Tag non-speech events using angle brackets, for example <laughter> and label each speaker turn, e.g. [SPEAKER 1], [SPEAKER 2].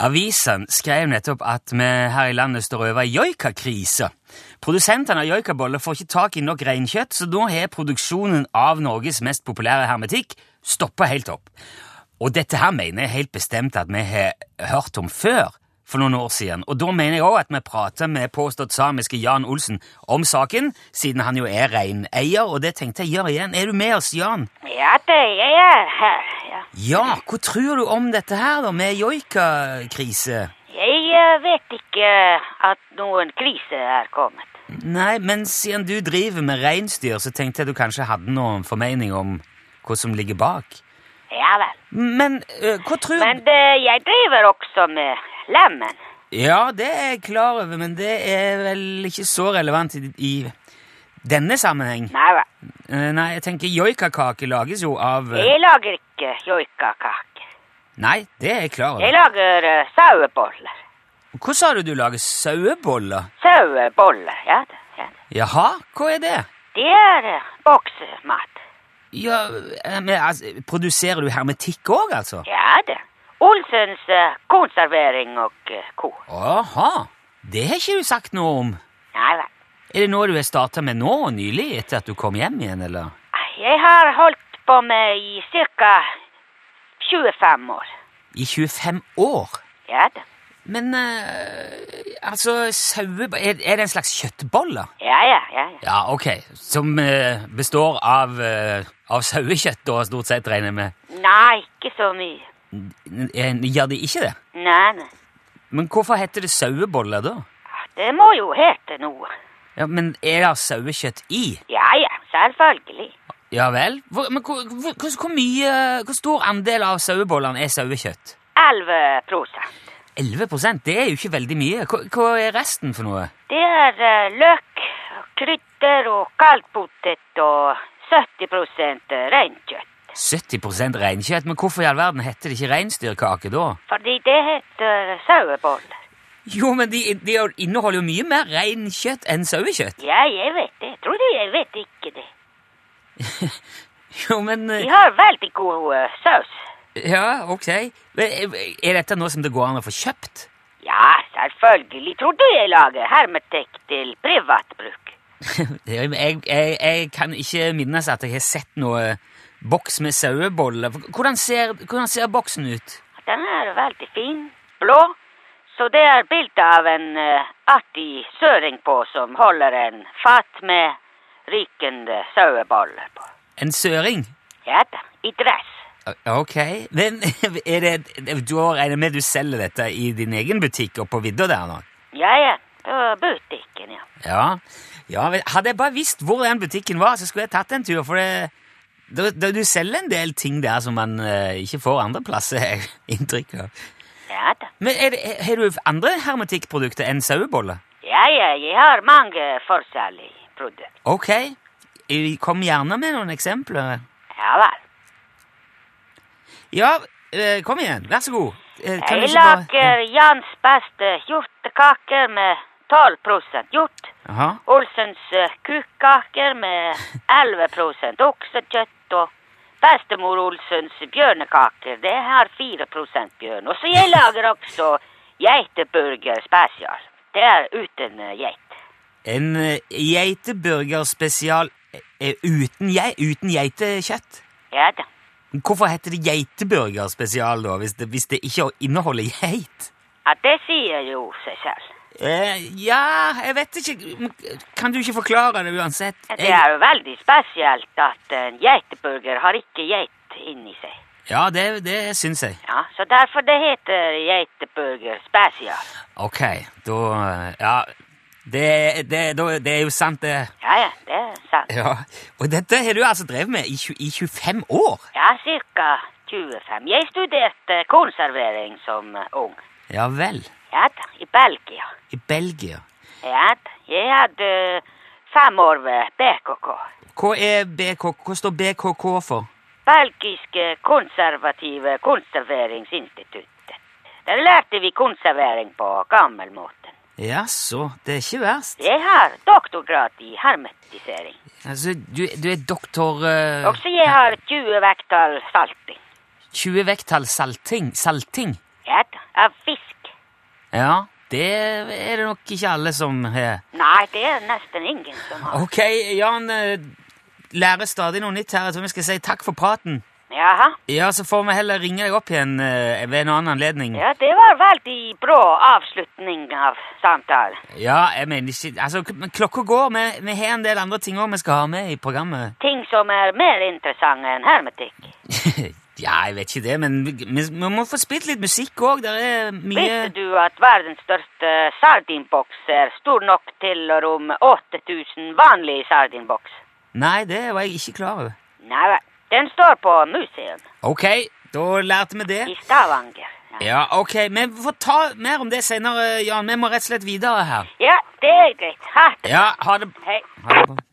[SPEAKER 1] Avisen skrev nettopp at vi her i landet står over ei joikakrise. Produsentene av joikaboller får ikke tak i nok reinkjøtt, så nå har produksjonen av Norges mest populære hermetikk stoppa helt opp. Og dette her mener jeg helt bestemt at vi har hørt om før, for noen år siden. Og da mener jeg òg at vi prater med påstått samiske Jan Olsen om saken, siden han jo er reineier, og det tenkte jeg gjøre igjen. Er du med oss, Jan?
[SPEAKER 2] Ja, det jeg er her. Ja.
[SPEAKER 1] Ja, hva tror du om dette her, da, med joikakrise?
[SPEAKER 2] Jeg eh, vet ikke at noen krise er kommet.
[SPEAKER 1] Nei, men siden du driver med reinsdyr, så tenkte jeg du kanskje hadde noen formening om hva som ligger bak.
[SPEAKER 2] Ja vel.
[SPEAKER 1] Men øh, hva tror du
[SPEAKER 2] Men det, jeg driver også med lemmen.
[SPEAKER 1] Ja, det er jeg klar over, men det er vel ikke så relevant i, i denne sammenheng.
[SPEAKER 2] Nei vel.
[SPEAKER 1] Eh, Nei, jeg tenker joikakake lages jo av eh,
[SPEAKER 2] Jeg lager ikke joikakake.
[SPEAKER 1] Nei, det er jeg klar
[SPEAKER 2] Jeg
[SPEAKER 1] over.
[SPEAKER 2] lager eh, saueboller.
[SPEAKER 1] Hva sa du du lager saueboller?
[SPEAKER 2] Saueboller, ja. da, ja. da.
[SPEAKER 1] Jaha, hva er det?
[SPEAKER 2] Det er eh, boksemat.
[SPEAKER 1] Ja, eh, men altså, Produserer du hermetikk òg, altså?
[SPEAKER 2] Ja, det. Olsens eh, konservering og eh, ko.
[SPEAKER 1] Aha, det har ikke du sagt noe om.
[SPEAKER 2] Nei vel.
[SPEAKER 1] Er det noe du har starta med nå nylig, etter at du kom hjem igjen, eller?
[SPEAKER 2] Jeg har holdt på med i ca. 25 år.
[SPEAKER 1] I 25 år?
[SPEAKER 2] Ja da.
[SPEAKER 1] Men eh, altså, saueboller er, er det en slags kjøttboller?
[SPEAKER 2] Ja, ja, ja. ja.
[SPEAKER 1] Ja, ok. Som eh, består av, eh, av sauekjøtt, da, stort sett, regner jeg med.
[SPEAKER 2] Nei, ikke så mye.
[SPEAKER 1] N- n- Gjør de ikke det?
[SPEAKER 2] Nei, nei.
[SPEAKER 1] Men hvorfor heter det saueboller, da?
[SPEAKER 2] Det må jo hete noe.
[SPEAKER 1] Ja, Men er det sauekjøtt i?
[SPEAKER 2] Ja, ja, selvfølgelig.
[SPEAKER 1] Ja vel? Hvor, men hvor, hvor, hvor, hvor mye Hvor stor andel av sauebollene er sauekjøtt?
[SPEAKER 2] 11 prosent.
[SPEAKER 1] 11 det er jo ikke veldig mye. Hva, hva er resten for noe?
[SPEAKER 2] Det er eh, løk, krydder og kaldpotet og 70 prosent reinkjøtt.
[SPEAKER 1] 70 reinkjøtt? Men hvorfor i all verden heter det ikke reinsdyrkake da?
[SPEAKER 2] Fordi det heter saueboller.
[SPEAKER 1] Jo, men de, de inneholder jo mye mer reinkjøtt enn sauekjøtt.
[SPEAKER 2] Ja, jeg vet det. Tror du jeg vet ikke det?
[SPEAKER 1] Jo, men
[SPEAKER 2] De
[SPEAKER 1] eh,
[SPEAKER 2] har veldig god eh, saus.
[SPEAKER 1] Ja, ok. Men eh, Er dette noe som det går an å få kjøpt? <laughs>
[SPEAKER 2] Ja, selvfølgelig. Tror du jeg lager hermetikk til privat bruk?
[SPEAKER 1] jeg, jeg, jeg kan ikke minnes at jeg har sett noe boks med saueboller. Hvordan ser, hvordan ser boksen ut?
[SPEAKER 2] Den er veldig fin. Blå. Så det er bilde av en eh, artig søring på som holder en fat med rykende saueboller på.
[SPEAKER 1] En søring?
[SPEAKER 2] Ja da, i dress.
[SPEAKER 1] Ok. Men <laughs> er det Du regner med du selger dette i din egen butikk oppe på vidda der nå?
[SPEAKER 2] Ja ja, på butikken, ja.
[SPEAKER 1] Ja. ja vel, hadde jeg bare visst hvor den butikken var, så skulle jeg tatt en tur. For det, da, da, du selger en del ting der som man eh, ikke får andre plasser, <laughs> har jeg inntrykk av.
[SPEAKER 2] Ja da.
[SPEAKER 1] Men er det- har du andre hermetikkprodukter enn saueboller?
[SPEAKER 2] Ja ja, jeg har mange forskjellige produkter.
[SPEAKER 1] Ok. Eh, Kom gjerne med noen eksempler.
[SPEAKER 2] Ja vel.
[SPEAKER 1] Ja, eh, kom igjen. Vær så god. Eh, kan du
[SPEAKER 2] Jeg
[SPEAKER 1] ikke bare-
[SPEAKER 2] lager Jans beste hjortekaker med 12 hjort.
[SPEAKER 1] Jaha.
[SPEAKER 2] Olsens eh, kukkaker med 11 oksekjøtt og bestemor Olsens bjørnekaker. Det har 4 bjørn. Og så jeg lager også geiteburger spesial. Det er uten eh, geit.
[SPEAKER 1] En eh, geiteburger spesial eh, uten, gei- uten geitekjøtt.
[SPEAKER 2] Ja da.
[SPEAKER 1] Hvorfor heter det geiteburger spesial, da, hvis det, hvis det ikke inneholder geit?
[SPEAKER 2] Ja, det sier jo seg selv.
[SPEAKER 1] Eh, ja, jeg vet ikke Kan du ikke forklare det uansett?
[SPEAKER 2] Det er jo veldig spesielt at en geiteburger har ikke geit inni seg.
[SPEAKER 1] Ja, det, det syns jeg.
[SPEAKER 2] Ja, Så derfor det heter geiteburger spesial.
[SPEAKER 1] Ok, da Ja. Det, det, da, det er jo sant, det.
[SPEAKER 2] Ja ja, det er sant.
[SPEAKER 1] Ja. Og dette har du altså drevet med i, tju- i 25 år?
[SPEAKER 2] Ja, cirka 25. Jeg studerte konservering som eh, ung.
[SPEAKER 1] Ja vel.
[SPEAKER 2] Ja da, i Belgia.
[SPEAKER 1] I Belgia.
[SPEAKER 2] Ja da, jeg hadde eh, fem år ved BKK.
[SPEAKER 1] Hva er BKK? Hva står BKK for?
[SPEAKER 2] Belgiske konservative konserveringsinstituttet. Der lærte vi konservering på gammelmåten.
[SPEAKER 1] Jaså, det er ikke verst.
[SPEAKER 2] Jeg har doktorgrad i hermetisering.
[SPEAKER 1] Altså, du, du er doktor eh,
[SPEAKER 2] Også jeg har 20 vekttall salting.
[SPEAKER 1] 20 vekttall salting. Salting?
[SPEAKER 2] Ja da, av fisk.
[SPEAKER 1] Ja, det er det nok ikke alle som har.
[SPEAKER 2] Nei, det er nesten ingen som har.
[SPEAKER 1] Ok, Jan eh, lærer stadig noe nytt her. Jeg tror vi skal si takk for praten.
[SPEAKER 2] Jaha.
[SPEAKER 1] Ja, så får vi heller ringe deg opp igjen eh, ved en annen anledning.
[SPEAKER 2] Ja, det var veldig bra avslutning av samtalen.
[SPEAKER 1] Ja, jeg mener ikke Altså, k- men klokka går. Vi, vi har en del andre ting òg vi skal ha med i programmet.
[SPEAKER 2] Ting som er mer interessante enn hermetikk.
[SPEAKER 1] <laughs> ja, jeg vet ikke det, men vi, vi, vi må få spilt litt musikk òg. Det er mye
[SPEAKER 2] Visste du at verdens største sardinboks er stor nok til å romme 8000 vanlige sardinboks?
[SPEAKER 1] Nei, det var jeg ikke klar over.
[SPEAKER 2] Nei vel. Den står på museum
[SPEAKER 1] Ok, da lærte vi det.
[SPEAKER 2] i Stavanger. Ja,
[SPEAKER 1] Ja, ok, Vi får ta mer om det senere, Jan. Vi må rett og slett videre her.
[SPEAKER 2] ja det er greit. Ha det.
[SPEAKER 1] Ja, ha det.
[SPEAKER 2] Hei.
[SPEAKER 1] Ha det bra.